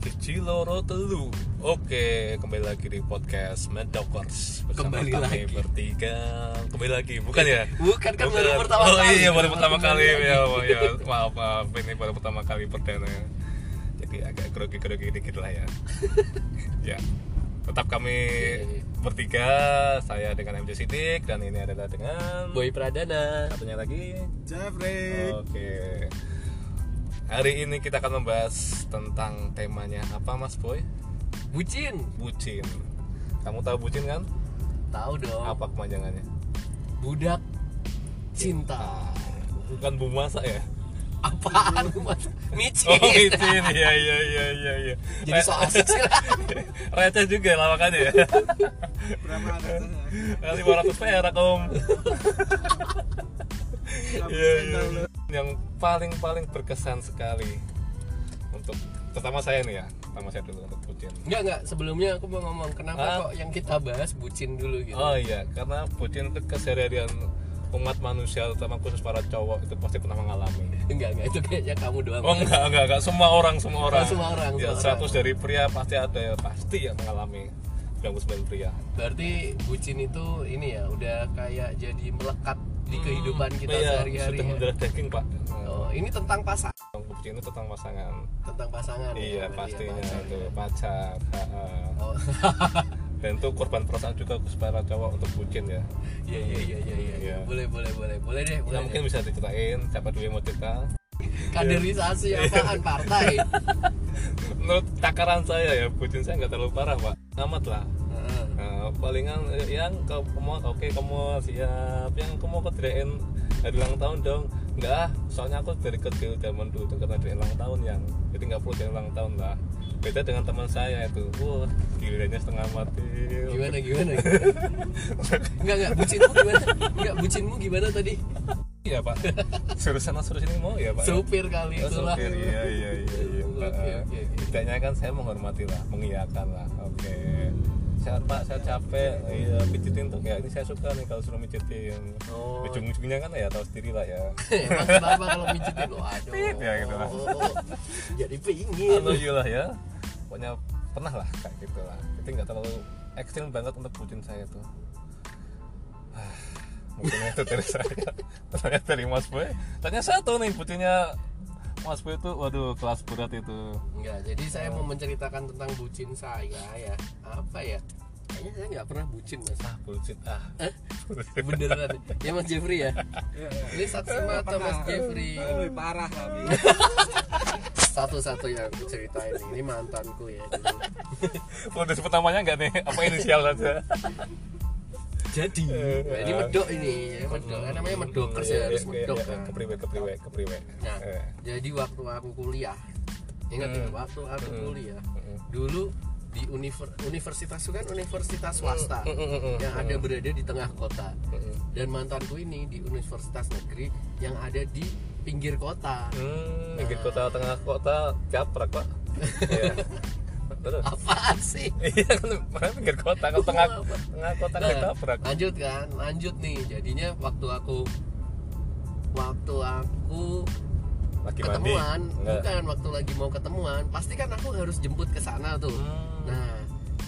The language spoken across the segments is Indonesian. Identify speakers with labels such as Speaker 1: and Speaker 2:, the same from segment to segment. Speaker 1: siji loro telu oke kembali lagi di podcast Medokers bersama
Speaker 2: Kembali
Speaker 1: kami
Speaker 2: lagi.
Speaker 1: bertiga kembali lagi bukan ya
Speaker 2: Bukan, kan baru
Speaker 1: Bukan.
Speaker 2: pertama
Speaker 1: oh,
Speaker 2: kali.
Speaker 1: iya baru pertama
Speaker 2: Kembali
Speaker 1: kali
Speaker 2: lagi.
Speaker 1: ya, oh, ya maaf maaf ini baru pertama kali perdana jadi agak grogi grogi dikit lah ya ya tetap kami
Speaker 2: Iya,
Speaker 1: bertiga saya dengan MJ Sidik dan ini adalah dengan
Speaker 2: Boy Pradana.
Speaker 1: satunya lagi
Speaker 3: Jafri
Speaker 1: Oke. Hari ini kita akan membahas tentang temanya apa Mas Boy?
Speaker 2: Bucin.
Speaker 1: Bucin. Kamu tahu bucin kan?
Speaker 2: Tahu dong.
Speaker 1: Apa kepanjangannya? Ah,
Speaker 2: Budak cinta.
Speaker 1: Bukan bu masa ya?
Speaker 2: Apaan lu mas?
Speaker 1: Oh,
Speaker 2: Micin.
Speaker 1: bucin. Iya iya iya iya iya.
Speaker 2: Jadi so asik sih lah.
Speaker 1: Receh juga lah makanya ya.
Speaker 3: berapa atasnya?
Speaker 1: Kali 500 perak om. Iya iya. Yang paling paling berkesan sekali untuk terutama saya nih ya, terutama saya dulu untuk bucin.
Speaker 2: Enggak enggak, sebelumnya aku mau ngomong kenapa
Speaker 1: Ah.
Speaker 2: kok yang kita bahas bucin dulu gitu.
Speaker 1: Oh iya, karena bucin itu keseharian umat manusia, terutama khusus para cowok itu pasti pernah mengalami.
Speaker 2: Enggak enggak, itu kayaknya kamu doang.
Speaker 1: Oh enggak, enggak, enggak, semua orang, semua orang.
Speaker 2: semua orang,
Speaker 1: Ya,
Speaker 2: semua
Speaker 1: 100 dari pria pasti ada, ya, pasti yang mengalami 99 pria.
Speaker 2: Berarti bucin itu ini ya udah kayak jadi melekat di kehidupan kita
Speaker 1: Iya,
Speaker 2: sehari-hari.
Speaker 1: Sudah
Speaker 2: ya.
Speaker 1: mendarah daging, Pak.
Speaker 2: Oh, ini tentang pasangan
Speaker 1: Yang Bucin itu tentang pasangan.
Speaker 2: tentang pasangan.
Speaker 1: iya,
Speaker 2: ya, berarti ya,
Speaker 1: pastinya
Speaker 2: pacar.
Speaker 1: itu pacar. ha, ha.
Speaker 2: Oh.
Speaker 1: Dan itu korban perasaan juga khusus para cowok untuk bucin ya.
Speaker 2: Iya iya iya iya iya.
Speaker 1: Iya.
Speaker 2: Boleh boleh boleh. Boleh deh,
Speaker 1: Nah,
Speaker 2: boleh.
Speaker 1: mungkin
Speaker 2: deh.
Speaker 1: bisa diceritain siapa dulu yang mau cerita. Iya.
Speaker 2: Kaderisasi apaan partai?
Speaker 1: Menurut takaran saya ya, bucin saya nggak terlalu parah, Pak. Amat lah.
Speaker 2: Heeh.
Speaker 1: Nah, palingan eh, yang ke kamu oke kamu siap yang kamu ke dirain hari ulang tahun dong enggak ah soalnya aku dari kecil zaman dulu itu karena dirain ulang tahun yang jadi nggak perlu dirain ulang tahun lah beda dengan teman saya itu wah gilirannya setengah mati
Speaker 2: Gimana gimana? Enggak enggak bucinmu gimana? Enggak bucinmu gimana tadi?
Speaker 1: iya pak suruh sana suruh sini mau ya pak
Speaker 2: Supir kali
Speaker 1: Oh,
Speaker 2: itulah.
Speaker 1: supir, iya iya iya iya
Speaker 2: Oke,
Speaker 1: Heeh.
Speaker 2: oke, oke.
Speaker 1: Setidaknya kan saya menghormati lah mengiyakan lah oke saya pak saya capek iya pijitin tuh kayak ini saya suka nih kalau suruh mijitin
Speaker 2: Oh.
Speaker 1: ujung-ujungnya kan ya tahu sendiri lah ya
Speaker 2: Emang kenapa kalau mijitin waduh.
Speaker 1: Pip, ya gitu lah.
Speaker 2: Jadi pingin.
Speaker 1: halo lah ya pokoknya pernah lah kayak gitu lah jadi nggak terlalu ekstrim banget untuk bucin saya tuh Ah, mungkin itu dari saya ternyata dari mas boy tanya satu nih bucinnya mas boy itu waduh kelas berat itu
Speaker 2: Enggak, jadi saya mau menceritakan tentang bucin saya ya. Apa ya? Kayaknya saya nggak pernah bucin mas.
Speaker 1: ah bucin ah
Speaker 2: Hah? Beneran? Ya Mas Jeffrey ya?
Speaker 1: Iya,
Speaker 2: Ini satu mata Mas Jeffrey.
Speaker 3: lebih parah tapi
Speaker 2: Satu-satu yang aku ceritain ini mantanku ya. dulu.
Speaker 1: udah sebut namanya nggak nih apa inisial saja
Speaker 2: Jadi, nah, ini medok ini, ya, medok. Kan namanya
Speaker 1: Iya,
Speaker 2: medokers ya harus medok kan.
Speaker 1: kepriwe kepriwe kepriwe
Speaker 2: Nah,
Speaker 1: Eh,
Speaker 2: jadi waktu aku kuliah,
Speaker 1: Hmm.
Speaker 2: ingat ya, waktu aku kuliah, dulu di univer- universitas itu kan universitas
Speaker 1: Hmm.
Speaker 2: swasta yang ada berada di tengah kota. Dan mantanku ini di universitas negeri yang ada di pinggir kota.
Speaker 1: hmm pinggir kota tengah kota caprak pak Iya. terus
Speaker 2: Apaan sih?
Speaker 1: iya kan makanya pinggir kota kan tengah tengah kota kan
Speaker 2: Nah,
Speaker 1: ditabrak
Speaker 2: lanjut kan lanjut nih jadinya waktu aku waktu aku
Speaker 1: lagi mandi
Speaker 2: ketemuan
Speaker 1: Enggak.
Speaker 2: bukan waktu lagi mau ketemuan pasti kan aku harus jemput ke sana tuh
Speaker 1: Hmm.
Speaker 2: nah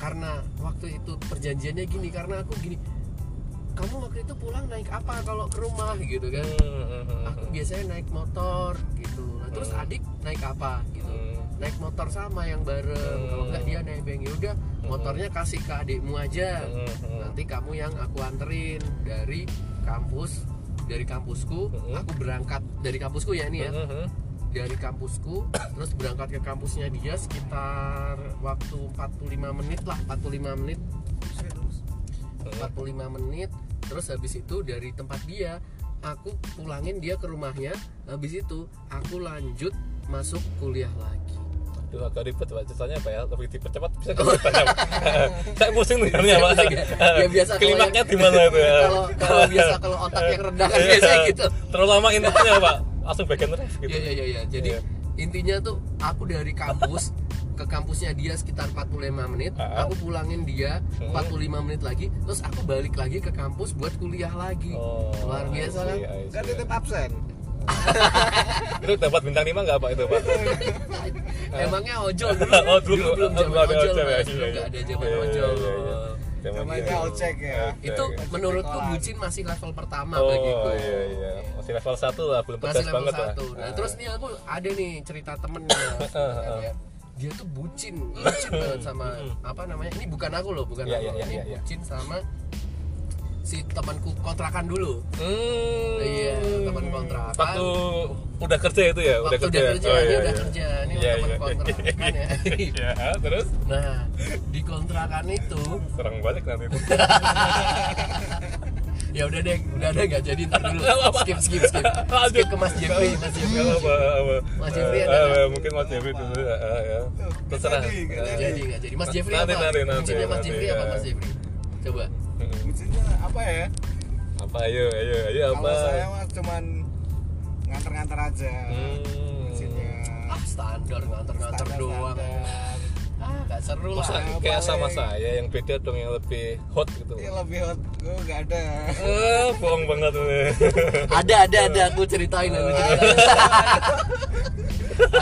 Speaker 2: karena waktu itu perjanjiannya gini karena aku gini kamu waktu itu pulang naik apa kalau ke rumah gitu kan
Speaker 1: Hmm, hmm, hmm,
Speaker 2: aku gitu. biasanya naik motor gitu Nah, terus adik naik apa gitu
Speaker 1: Hmm.
Speaker 2: naik motor sama yang bareng kalau nggak dia nebeng ya udah motornya kasih ke adikmu aja
Speaker 1: Hmm, hmm.
Speaker 2: nanti kamu yang aku anterin dari kampus dari kampusku
Speaker 1: Hmm.
Speaker 2: aku berangkat dari kampusku ya ini ya
Speaker 1: Hmm, hmm.
Speaker 2: dari kampusku terus berangkat ke kampusnya dia sekitar waktu 45 menit lah 45 menit 45 menit terus habis itu dari tempat dia aku pulangin dia ke rumahnya habis itu aku lanjut masuk kuliah lagi
Speaker 1: Aduh, agak ribet pak ceritanya pak ya lebih dipercepat bisa nggak ceritanya Pak? saya pusing dengarnya pak Iya.
Speaker 2: ya biasa kalau
Speaker 1: klimaknya
Speaker 2: yang-
Speaker 1: di mana itu ya?
Speaker 2: kalau kalau biasa kalau otak yang rendah kan biasanya gitu
Speaker 1: Iya. terlalu lama intinya pak langsung bagian terus gitu
Speaker 2: Iya iya iya. iya. Jadi
Speaker 1: Iya.
Speaker 2: intinya tuh aku dari kampus ke kampusnya dia sekitar 45 menit,
Speaker 1: Ah.
Speaker 2: aku pulangin dia
Speaker 1: Hmm.
Speaker 2: 45 menit lagi, terus aku balik lagi ke kampus buat kuliah lagi.
Speaker 1: Oh,
Speaker 2: Luar
Speaker 1: I
Speaker 2: biasa kan?
Speaker 1: see, I see.
Speaker 3: kan tetap absen
Speaker 1: itu dapat bintang 5 nggak pak itu pak
Speaker 2: Emangnya ojol dulu?
Speaker 1: Oh, dulu-
Speaker 2: belum
Speaker 1: oh,
Speaker 2: zaman
Speaker 1: belum ada
Speaker 2: ojol,
Speaker 1: ojol ya,
Speaker 2: Mas.
Speaker 1: iya,
Speaker 2: Belum
Speaker 1: iya.
Speaker 2: nggak ada zaman
Speaker 1: Iya, iya,
Speaker 2: ojol.
Speaker 1: iya, iya. Zaman
Speaker 3: Namanya
Speaker 1: dia.
Speaker 3: ojek ya.
Speaker 1: Oke,
Speaker 2: Itu
Speaker 1: oke.
Speaker 2: menurutku
Speaker 3: Kolam.
Speaker 2: bucin masih level pertama
Speaker 1: oh,
Speaker 2: bagiku.
Speaker 1: iya, iya. Masih level 1 lah, belum
Speaker 2: Masih
Speaker 1: pedas
Speaker 2: level
Speaker 1: banget
Speaker 2: satu.
Speaker 1: lah.
Speaker 2: Nah,
Speaker 1: Ah.
Speaker 2: terus nih aku ada nih cerita temennya.
Speaker 1: Heeh,
Speaker 2: ya. Dia tuh bucin, bucin banget sama apa namanya? Ini bukan aku loh, bukan
Speaker 1: Iya,
Speaker 2: aku.
Speaker 1: iya, iya,
Speaker 2: Ini
Speaker 1: iya, iya.
Speaker 2: bucin sama si temanku kontrakan dulu.
Speaker 1: Hmm.
Speaker 2: Iya, teman kontrakan.
Speaker 1: Waktu udah kerja itu ya, udah
Speaker 2: Waktu
Speaker 1: kerja.
Speaker 2: dia kerja,
Speaker 1: Oh,
Speaker 2: dia
Speaker 1: iya,
Speaker 2: udah
Speaker 1: iya.
Speaker 2: kerja. Ini
Speaker 1: Iya,
Speaker 2: teman
Speaker 1: iya.
Speaker 2: kontrakan ya.
Speaker 1: Iya, terus
Speaker 2: Nah, di kontrakan itu
Speaker 1: serang balik nanti. itu.
Speaker 2: ya udah deh, udah deh nggak jadi ntar dulu. Skip skip skip.
Speaker 1: Lanjut.
Speaker 2: Skip ke Mas Jeffrey, Mas Jeffrey.
Speaker 1: Apa, apa,
Speaker 2: Mas
Speaker 1: eh,
Speaker 2: Jeffrey ada
Speaker 1: eh,
Speaker 2: nggak?
Speaker 1: mungkin Mas Jeffrey dulu eh, eh, ya. Terserah.
Speaker 3: Jadi,
Speaker 1: Eh,
Speaker 2: Nggak jadi, nggak jadi. Mas Jeffrey
Speaker 1: Nanti,
Speaker 2: apa?
Speaker 1: nanti, nanti,
Speaker 2: Kuncinya Mas
Speaker 1: nanti,
Speaker 2: Jeffrey apa
Speaker 1: ya.
Speaker 2: Mas Jeffrey? Coba.
Speaker 1: mm-mm.
Speaker 3: Bucinnya apa ya?
Speaker 1: eh, Apa ayo ayo ayo apa?
Speaker 3: Kalau saya mah cuman nganter-nganter aja.
Speaker 1: Hmm.
Speaker 3: Bucinnya.
Speaker 2: Ah, standar nganter-nganter doang.
Speaker 3: Standar-standar.
Speaker 2: Ah, nggak seru
Speaker 1: Masa
Speaker 2: lah.
Speaker 1: kayak
Speaker 3: paling-
Speaker 1: sama saya yang beda dong yang lebih hot gitu.
Speaker 3: Iya lebih hot gue gak ada.
Speaker 1: Eh, bohong banget ini.
Speaker 2: Ada ada ada aku ceritain
Speaker 1: Oh.
Speaker 2: aku ceritain.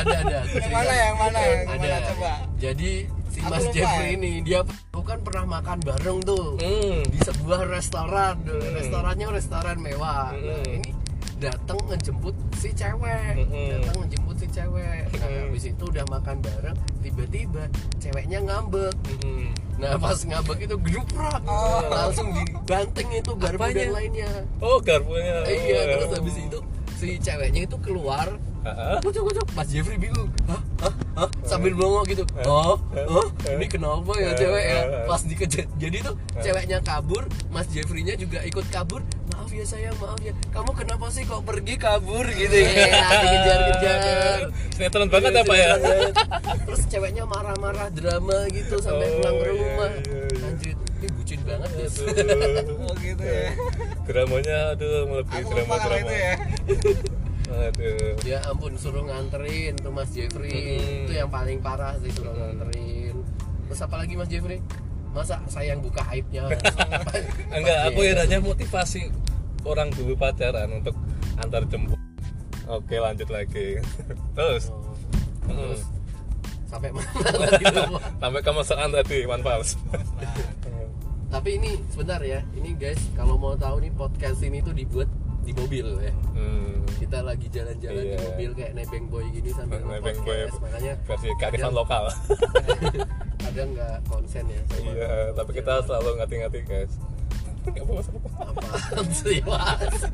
Speaker 2: ada ada aku
Speaker 3: Yang mana
Speaker 2: ceritain.
Speaker 3: yang mana yang
Speaker 2: Ada.
Speaker 3: mana coba?
Speaker 2: Jadi si
Speaker 3: Aku
Speaker 2: Mas
Speaker 3: lupa ya.
Speaker 2: Jeffrey ini dia aku kan pernah makan bareng tuh.
Speaker 1: Hmm.
Speaker 2: di sebuah restoran restorannya restoran mewah nah,
Speaker 1: Hmm.
Speaker 2: ini datang ngejemput si cewek
Speaker 1: Hmm.
Speaker 2: datang ngejemput si cewek nah
Speaker 1: Hmm.
Speaker 2: habis itu udah makan bareng tiba-tiba ceweknya ngambek
Speaker 1: Mm-mm.
Speaker 2: nah pas ngambek itu geduprak
Speaker 3: Oh.
Speaker 2: langsung dibanting itu garpu
Speaker 1: Apanya?
Speaker 2: dan lainnya
Speaker 1: Oh, garpunya. Oh,
Speaker 2: Eh, iya terus habis itu si ceweknya itu keluar
Speaker 1: Heeh.
Speaker 2: kucuk kucuk Mas Jeffrey bingung hah hah hah sambil bengong gitu oh oh ini kenapa ya cewek ya pas dikejar jadi tuh ceweknya kabur Mas Jeffrey-nya juga ikut kabur maaf ya sayang maaf ya kamu kenapa sih kok pergi kabur gitu ya dikejar-kejar
Speaker 1: Sinetron banget apa
Speaker 2: Iya,
Speaker 1: ya?
Speaker 2: terus ceweknya marah-marah drama gitu sampai
Speaker 1: Oh,
Speaker 2: pulang ke
Speaker 1: iya,
Speaker 2: rumah
Speaker 1: iya, iya.
Speaker 2: lanjut ini bucin banget guys iya.
Speaker 1: Aduh.
Speaker 3: Oh gitu ya.
Speaker 1: Dramanya aduh melebihi
Speaker 3: Aku lupa
Speaker 1: Iya,
Speaker 3: kalau
Speaker 1: drama-drama.
Speaker 3: itu ya.
Speaker 1: Aduh.
Speaker 2: ya ampun suruh nganterin tuh Mas Jeffrey
Speaker 1: Mm.
Speaker 2: itu yang paling parah sih suruh nganterin terus apa lagi Mas Jeffrey masa saya yang buka aibnya
Speaker 1: Enggak, aku ya hanya motivasi orang dulu pacaran untuk antar jemput. Oke, lanjut lagi. Terus
Speaker 2: Oh.
Speaker 1: Mm.
Speaker 2: terus sampai mana gitu
Speaker 1: sampai kemesraan tadi, one pals.
Speaker 2: Nah. tapi ini sebentar ya ini guys kalau mau tahu nih podcast ini tuh dibuat di mobil ya
Speaker 1: Hmm.
Speaker 2: kita lagi jalan-jalan di
Speaker 1: Iya.
Speaker 2: mobil kayak nebeng boy gini sambil
Speaker 1: Nebeng
Speaker 2: nge-podcast.
Speaker 1: boy.
Speaker 2: makanya
Speaker 1: ya. Versi kearifan
Speaker 2: Kadang-
Speaker 1: lokal.
Speaker 2: kadang nggak konsen ya sama
Speaker 1: Iya, tapi kita selalu ngati-ngati, guys. Nggak apa-apa.
Speaker 2: Apaan sih mas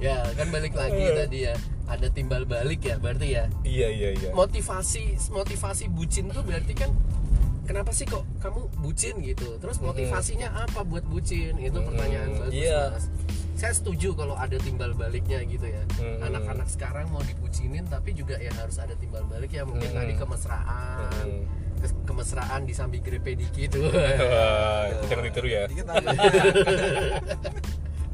Speaker 2: ya kan balik lagi tadi ya ada timbal balik ya berarti ya
Speaker 1: Iya, iya, iya.
Speaker 2: motivasi motivasi bucin tuh berarti kan kenapa sih kok kamu bucin gitu terus motivasinya apa buat bucin itu pertanyaan
Speaker 1: Mm,
Speaker 2: bagus
Speaker 1: iya.
Speaker 2: mas saya setuju kalau ada timbal baliknya gitu ya
Speaker 1: Mm.
Speaker 2: anak-anak sekarang mau dibucinin tapi juga ya harus ada timbal balik ya mungkin
Speaker 1: Mm.
Speaker 2: tadi kemesraan
Speaker 1: Mm.
Speaker 2: Terus kemesraan di sambil grepe dikit
Speaker 1: Wah, itu jangan ditiru ya.
Speaker 3: Dikit lagi.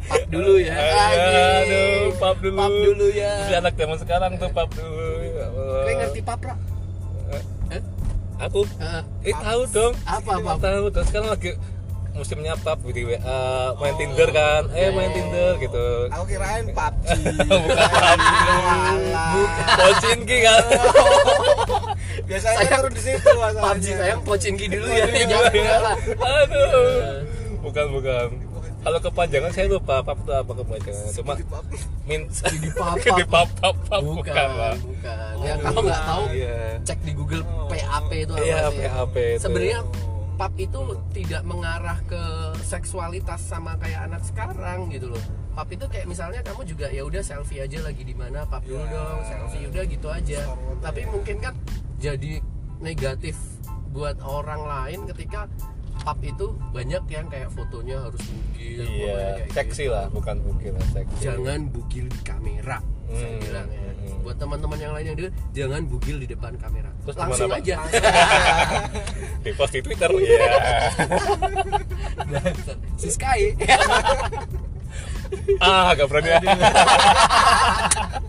Speaker 2: pap dulu ya anjing.
Speaker 1: Eh, Aduh, pap dulu.
Speaker 2: pap dulu ya
Speaker 1: Si anak zaman sekarang tuh pap dulu. Ya Allah.
Speaker 2: Kalian ngerti pap Ra? Eh?
Speaker 1: Aku
Speaker 2: Eh,
Speaker 1: eh tahu dong.
Speaker 2: apa pap
Speaker 1: Tahu terus sekarang lagi musimnya pap di WA, main
Speaker 2: Oh.
Speaker 1: Tinder kan. Eh,
Speaker 2: Iya,
Speaker 1: main Tinder gitu.
Speaker 3: Aku kirain PUBG.
Speaker 1: Bukan pap.
Speaker 3: Alah.
Speaker 1: Pocin ki kan.
Speaker 3: Biasanya
Speaker 2: Sayang.
Speaker 3: turun di situ masalahnya.
Speaker 2: PUBG sayang pocinki dulu ya
Speaker 1: Iya,
Speaker 2: jangan
Speaker 1: iya.
Speaker 2: enggak lah
Speaker 1: Aduh. Bukan, bukan. Kalau kepanjangan saya lupa pap itu apa kepanjangan. Cuma
Speaker 3: Di PUBG.
Speaker 1: min
Speaker 2: di pap
Speaker 1: di pap pap pap
Speaker 2: bukan
Speaker 1: bukan, Pak. Oh,
Speaker 2: bukan ya kalau nggak tahu
Speaker 1: Iya.
Speaker 2: cek di Google PAP itu apa
Speaker 1: Iya,
Speaker 2: sih ya?
Speaker 1: PAP itu. Oh.
Speaker 2: sebenarnya pap itu tidak mengarah ke seksualitas sama kayak anak sekarang gitu loh pap itu kayak misalnya kamu juga ya udah selfie aja lagi di mana pap dulu
Speaker 1: Iya.
Speaker 2: dong selfie udah gitu aja
Speaker 3: Forward,
Speaker 2: tapi
Speaker 1: ya.
Speaker 2: mungkin kan jadi negatif buat orang lain ketika pap itu banyak yang kayak fotonya harus bugil
Speaker 1: Iya,
Speaker 2: pokoknya kayak
Speaker 1: seksi
Speaker 2: gitu.
Speaker 1: lah, bukan bugil lah, seksi.
Speaker 2: jangan bugil di kamera saya
Speaker 1: Hmm,
Speaker 2: bilang ya
Speaker 1: hmm.
Speaker 2: buat teman-teman yang lain yang denger jangan bugil di depan kamera
Speaker 1: Terus
Speaker 2: langsung
Speaker 1: gimana, Pak?
Speaker 2: aja
Speaker 1: Di post di Twitter. Iya.
Speaker 2: si Sky
Speaker 1: ah, gak berani.